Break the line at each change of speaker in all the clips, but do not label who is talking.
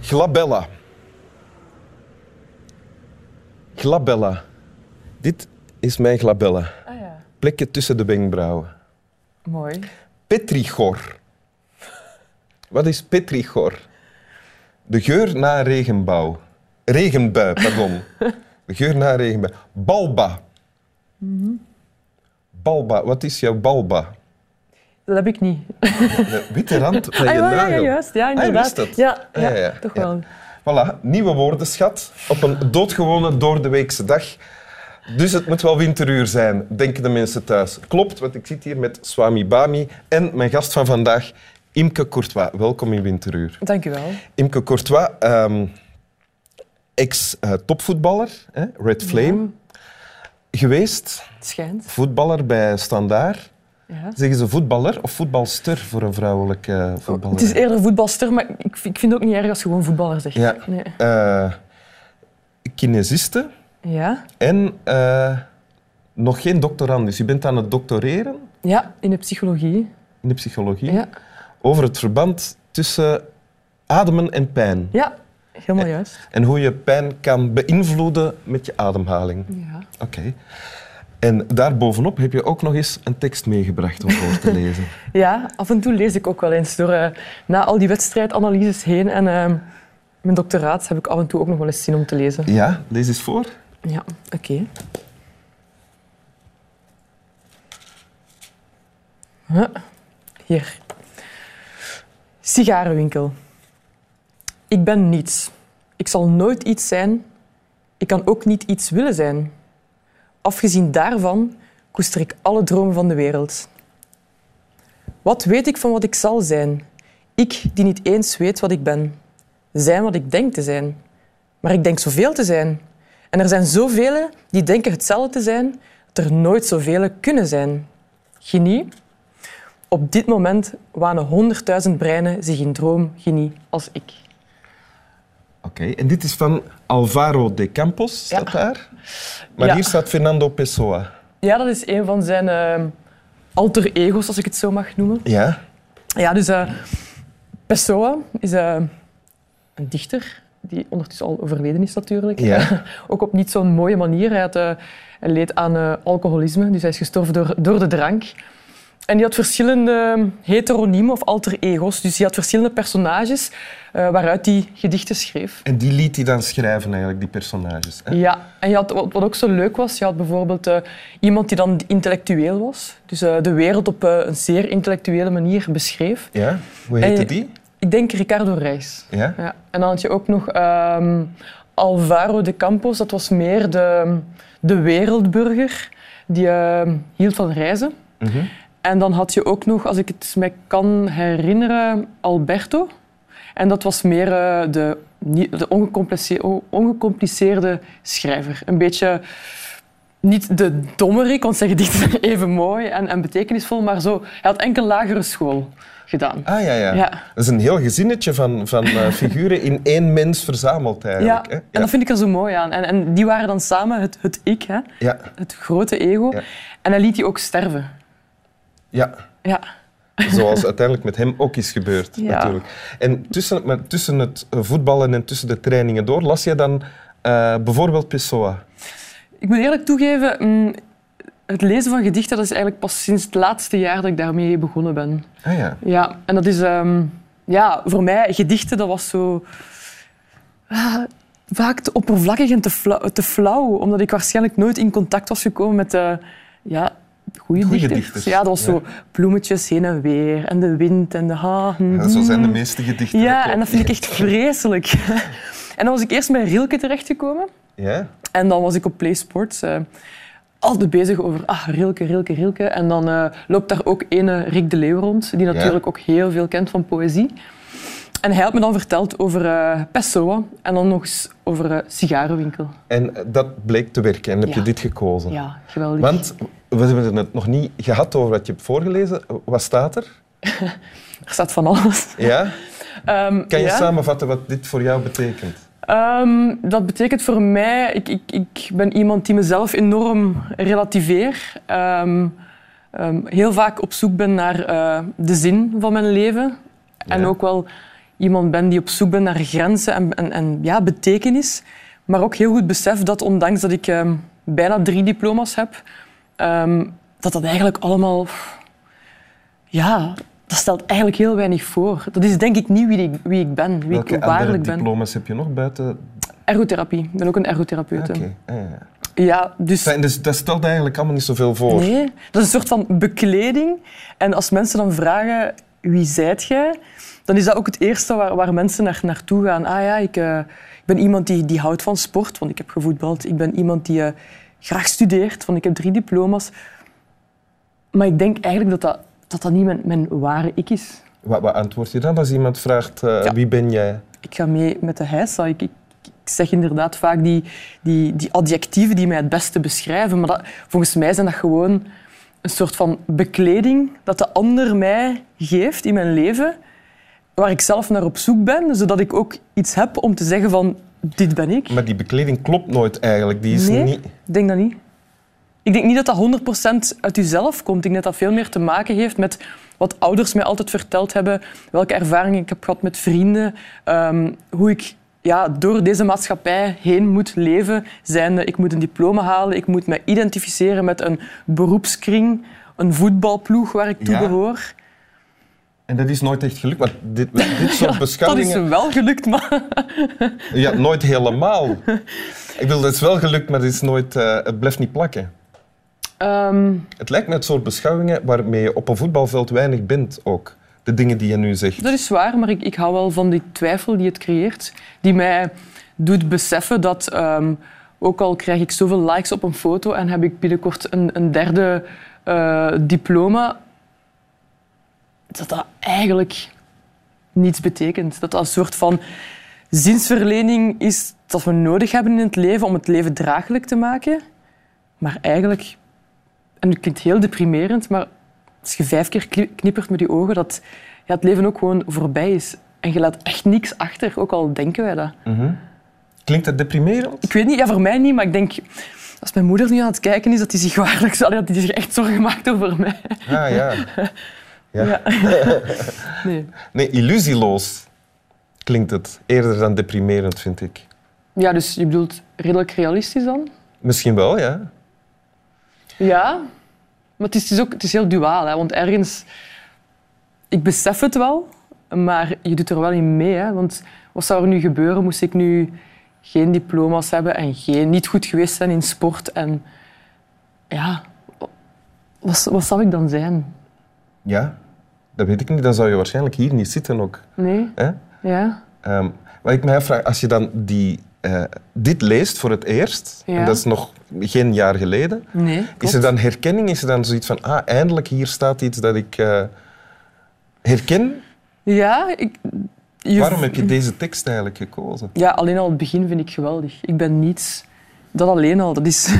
Glabella. Glabella. Dit is mijn glabella.
Ah ja,
Plekje tussen de wenkbrauwen.
mooi.
Petrichor. Wat is petrichor? De geur na een regenbouw. Regenbui, pardon. De geur na een regenbui. Balba.
Mhm.
Balba. Wat is jouw balba?
Dat heb ik niet.
De witte rand van je
Ah, ja, ja,
nagel.
juist. Ja,
wist
inderdaad.
dat?
Ja,
Ah, ja,
ja,
ja,
toch
ja.
wel.
Voilà, nieuwe woordenschat op een doodgewone doordeweekse dag. Dus het moet wel winteruur zijn, denken de mensen thuis. Klopt, want ik zit hier met Swami Bami en mijn gast van vandaag, Imke Courtois. Welkom in Winteruur.
Dank u wel.
Imke Courtois, ehm, ex-topvoetballer, hè, Red Flame, geweest.
Het schijnt.
Voetballer bij Standaard.
Ja.
Zeggen ze voetballer of voetbalster voor een vrouwelijke voetballer?
Oh, Het is eerder voetbalster, maar ik, vind- ik vind het ook niet erg als je gewoon voetballer zegt.
Ja.
Nee.
Eh, kinesiste
Ja.
en eh, nog geen doctorandus. Je bent aan het doctoreren
ja, in de psychologie.
in de psychologie
Ja,
over het verband tussen ademen en pijn.
ja. helemaal juist.
En hoe je pijn kan beïnvloeden met je ademhaling.
Ja.
Oké. En daarbovenop heb je ook nog eens een tekst meegebracht om voor te lezen.
ja, af en toe lees ik ook wel eens door eh, na al die wedstrijdanalyses heen en eh, mijn doctoraat heb ik af en toe ook nog wel eens zin om te lezen.
Ja, lees eens voor.
Ja, oké. Huh. Hier. Sigarenwinkel. Ik ben niets. Ik zal nooit iets zijn. Ik kan ook niet iets willen zijn. Afgezien daarvan koester ik alle dromen van de wereld. Wat weet ik van wat ik zal zijn? Ik die niet eens weet wat ik ben. Zijn wat ik denk te zijn. Maar ik denk zoveel te zijn. En er zijn zoveel die denken hetzelfde te zijn, dat er nooit zoveel kunnen zijn. Genie. Op dit moment wanen honderdduizend breinen zich in droom genie als ik.
Oké, en dit is van Alvaro de Campos, staat daar. Maar
Ja.
hier staat Fernando Pessoa.
Ja, dat is een van zijn eh, alter ego's, als ik het zo mag noemen.
Ja?
Ja, dus eh, Pessoa is eh, een dichter die ondertussen al overleden is natuurlijk.
Ja.
Ook op niet zo'n mooie manier. Hij, had, eh, hij leed aan eh, alcoholisme, dus hij is gestorven door, door de drank. En die had verschillende ehm, heteroniemen of alter ego's. Dus die had verschillende personages eh, waaruit hij gedichten schreef.
En die liet hij dan schrijven, eigenlijk, die personages. Hè?
Ja, en je had, wat wat ook zo leuk was, je had bijvoorbeeld eh, iemand die dan intellectueel was. Dus eh, de wereld op eh, een zeer intellectuele manier beschreef.
Ja? Hoe
En
heette
je-
die?
Ik denk Ricardo Reis.
Ja?
Ja. En dan had je ook nog ehm, Alvaro de Campos. Dat was meer de, de wereldburger. Die ehm, hield van reizen.
Mhm.
En dan had je ook nog, als ik het me kan herinneren, Alberto. En dat was meer eh, de, nie- de ongecomplice- o- ongecompliceerde schrijver. Een beetje niet de dommerik, want zijn gedichten zijn even mooi en, en betekenisvol, maar zo. Hij had enkel lagere school gedaan.
Ah, ja, ja,
Ja.
Dat is een heel gezinnetje van, van eh, figuren in één mens verzameld,
Ja,
eigenlijk. hè?
en dat vind ik er zo mooi aan. En, en die waren dan samen het, het ik, hè?
ja.
het grote ego.
Ja.
En hij liet die ook sterven.
ja.
Ja,
Zoals uiteindelijk met hem ook is gebeurd,
Ja.
natuurlijk. En tussen, maar tussen het eh, voetballen en tussen de trainingen door las jij dan eh, bijvoorbeeld Pessoa.
ik moet eerlijk toegeven, mm, het lezen van gedichten dat is eigenlijk pas sinds het laatste jaar dat ik daarmee begonnen ben.
Ah ja.
Ja, en dat is ehm, ja, voor mij, gedichten, dat was zo ah, vaak te oppervlakkig en te flauw, te flauw, omdat ik waarschijnlijk nooit in contact was gekomen met eh ja, goede
Goeie
dichters.
dichters,
Ja, dat was
ja.
zo bloemetjes heen en weer en de wind en de hagen.
Ja, Zo zijn de meeste gedichten.
Mm. Ja,
klopt.
en dat vind ik echt vreselijk. en dan was ik eerst bij Rielke terechtgekomen.
Ja?
En dan was ik op PlaySports eh altijd bezig over ah, Rilke, Rilke, Rilke. En dan eh, loopt daar ook ene Rick de Leeuw rond, die natuurlijk ook heel veel kent van poëzie. En hij had me dan verteld over eh Pessoa en dan nog eens over eh sigarenwinkel.
En eh, dat bleek te werken en heb
Ja.
je dit gekozen.
Ja, geweldig.
Want we hebben het nog niet gehad over wat je hebt voorgelezen. Wat staat er?
Er staat van alles.
Ja?
Ehm,
Kan je
ja.
samenvatten wat dit voor jou betekent?
Ehm, dat betekent voor mij, ik, ik, ik ben iemand die mezelf enorm relativeer. Ehm, ehm, heel vaak op zoek ben naar eh, de zin van mijn leven. En
Ja.
ook wel iemand ben die op zoek ben naar grenzen en, en, en ja, betekenis. Maar ook heel goed besef dat ondanks dat ik ehm, bijna drie diploma's heb, ehm, dat dat eigenlijk allemaal... Ja, dat stelt eigenlijk heel weinig voor. Dat is denk ik niet wie ik, wie ik ben, wie
Welke
ik
andere
waarlijk ben.
diploma's heb je nog buiten?
Ergotherapie. Ik ben ook een ergotherapeut.
Oké.
hè.
ah, ja.
Ja, dus...
Fijn, dus dat stelt eigenlijk allemaal niet zoveel voor.
Nee, dat is een soort van bekleding. En als mensen dan vragen wie zijt jij, dan is dat ook het eerste waar, waar mensen naar, naartoe gaan. Ah ja, ik, eh, ik ben iemand die, die houdt van sport, want ik heb gevoetbald. Ik ben iemand die eh, graag studeert, want ik heb drie diploma's. Maar ik denk eigenlijk dat dat, dat, dat niet mijn, mijn ware ik is.
Wat, wat antwoord je dan als iemand vraagt eh, wie ben jij?
Ik ga mee met de heisa. Ik, ik, ik zeg inderdaad vaak die, die, die adjectieven die mij het beste beschrijven. Maar dat, volgens mij zijn dat gewoon een soort van bekleding dat de ander mij geeft in mijn leven, waar ik zelf naar op zoek ben, zodat ik ook iets heb om te zeggen van dit ben ik.
Maar die bekleding klopt nooit eigenlijk. Die is
nee,
niet...
ik denk dat niet. Ik denk niet dat dat 100% uit jezelf komt. Ik denk dat dat veel meer te maken heeft met wat ouders mij altijd verteld hebben, welke ervaringen ik heb gehad met vrienden, ehm, hoe ik ja, door deze maatschappij heen moet leven, zijnde ik moet een diploma halen, ik moet me identificeren met een beroepskring, een voetbalploeg waar ik toe
Ja.
behoor.
En dat is nooit echt gelukt, want dit, dit soort
Dat is
beschouwingen...
wel gelukt, maar
Ja, nooit helemaal. Ik bedoel, dat is wel gelukt, maar het, is nooit, eh, het blijft niet plakken.
Ehm,
Het lijkt me het soort beschouwingen waarmee je op een voetbalveld weinig bent ook. De dingen die je nu zegt.
Dat is waar, maar ik, ik hou wel van die twijfel die het creëert. Die mij doet beseffen dat, ehm, ook al krijg ik zoveel likes op een foto en heb ik binnenkort een, een derde eh, diploma, dat dat eigenlijk niets betekent. Dat dat een soort van zinsverlening is dat we nodig hebben in het leven om het leven draaglijk te maken. Maar eigenlijk, en het klinkt heel deprimerend, maar als je vijf keer kni- knippert met je ogen, dat ja, het leven ook gewoon voorbij is. En je laat echt niks achter, ook al denken wij dat.
Mhm. Klinkt dat deprimerend?
Ik weet niet, ja, voor mij niet, maar ik denk... Als mijn moeder nu aan het kijken is, dat hij zich waarlijk... Allee, dat hij zich echt zorgen maakt over mij.
Ah ja. Ja.
Ja. nee.
Nee, illusieloos klinkt het. Eerder dan deprimerend, vind ik.
Ja, dus je bedoelt redelijk realistisch dan?
Misschien wel, ja.
Ja. Maar het is, het is ook het is heel duaal, hè, want ergens... Ik besef het wel, maar je doet er wel in mee. Hè, want wat zou er nu gebeuren moest ik nu geen diploma's hebben en geen, niet goed geweest zijn in sport? En ja, wat, wat zou ik dan zijn?
Ja, dat weet ik niet. Dan zou je waarschijnlijk hier niet zitten ook.
Nee?
Hè?
Ja?
Ehm, wat ik mij afvraag, als je dan die, eh, dit leest voor het eerst,
Ja.
en dat is nog geen jaar geleden,
Nee,
is er dan herkenning? Is er dan zoiets van, ah, eindelijk hier staat iets dat ik eh, herken?
Ja, ik... je-
Waarom heb je deze tekst eigenlijk gekozen?
Ja, alleen al het begin vind ik geweldig. Ik ben niets. Dat alleen al, dat is...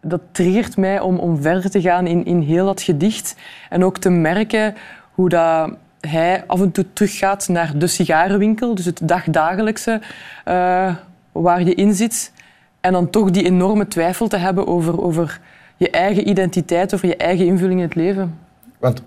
dat triggert mij om, om verder te gaan in, in heel dat gedicht. En ook te merken hoe dat hij af en toe teruggaat naar de sigarenwinkel. Dus het dagdagelijkse eh, waar je in zit. En dan toch die enorme twijfel te hebben over, over je eigen identiteit, over je eigen invulling in het leven.
Want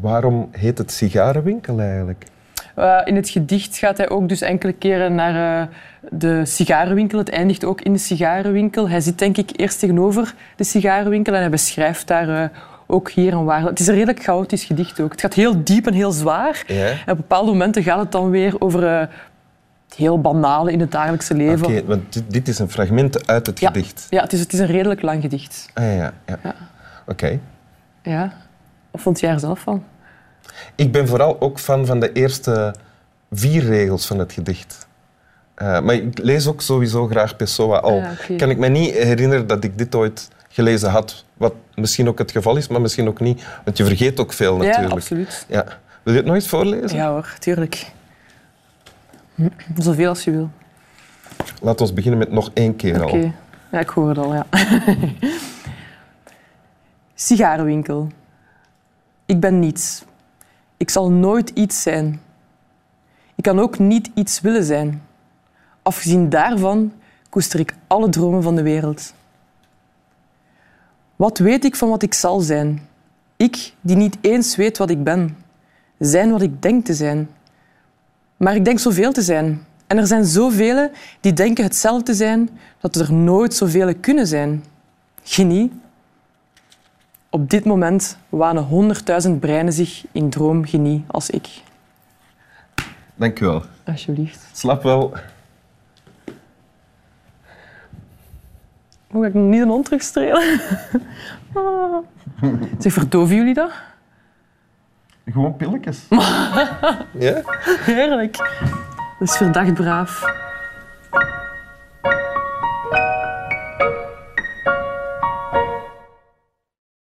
waarom heet het sigarenwinkel eigenlijk?
Eh, in het gedicht gaat hij ook dus enkele keren naar eh, de sigarenwinkel. Het eindigt ook in de sigarenwinkel. Hij zit denk ik eerst tegenover de sigarenwinkel en hij beschrijft daar eh, ook hier en waar. Het is een redelijk chaotisch gedicht ook. Het gaat heel diep en heel zwaar.
Ja.
En op bepaalde momenten gaat het dan weer over eh, het heel banale in het dagelijkse leven.
Oké, want dit, dit is een fragment uit het
Ja,
gedicht.
ja het, is, het is een redelijk lang gedicht.
Ah, ja, ja. ja.
Ja.
Oké.
Ja. Wat vond jij er zelf van?
Ik ben vooral ook fan van de eerste vier regels van het gedicht. Eh, maar ik lees ook sowieso graag Pessoa al.
Ah, oké.
Kan Oh, ik me niet herinneren dat ik dit ooit gelezen had. Wat misschien ook het geval is, maar misschien ook niet. Want je vergeet ook veel
Ja,
natuurlijk.
absoluut.
Ja. Wil je het nog eens voorlezen?
Ja hoor, tuurlijk. Hm, Zoveel als je wil.
Laat ons beginnen met nog één keer
Oké,
al.
ja, ik hoor het al, ja. Sigarenwinkel. Ik ben niets. Ik zal nooit iets zijn. Ik kan ook niet iets willen zijn. Afgezien daarvan koester ik alle dromen van de wereld. Wat weet ik van wat ik zal zijn? Ik die niet eens weet wat ik ben. Zijn wat ik denk te zijn. Maar ik denk zoveel te zijn. En er zijn zoveel die denken hetzelfde te zijn, dat er nooit zoveel kunnen zijn. Genie. Op dit moment wanen honderdduizend breinen zich in droom genie als ik.
Dank u wel.
Alsjeblieft.
Slap wel.
Moet ik niet een hond terugstrelen? Ah. Zeg, verdoven jullie dat?
Gewoon pilletjes. ja?
Heerlijk. Dat is verdacht braaf.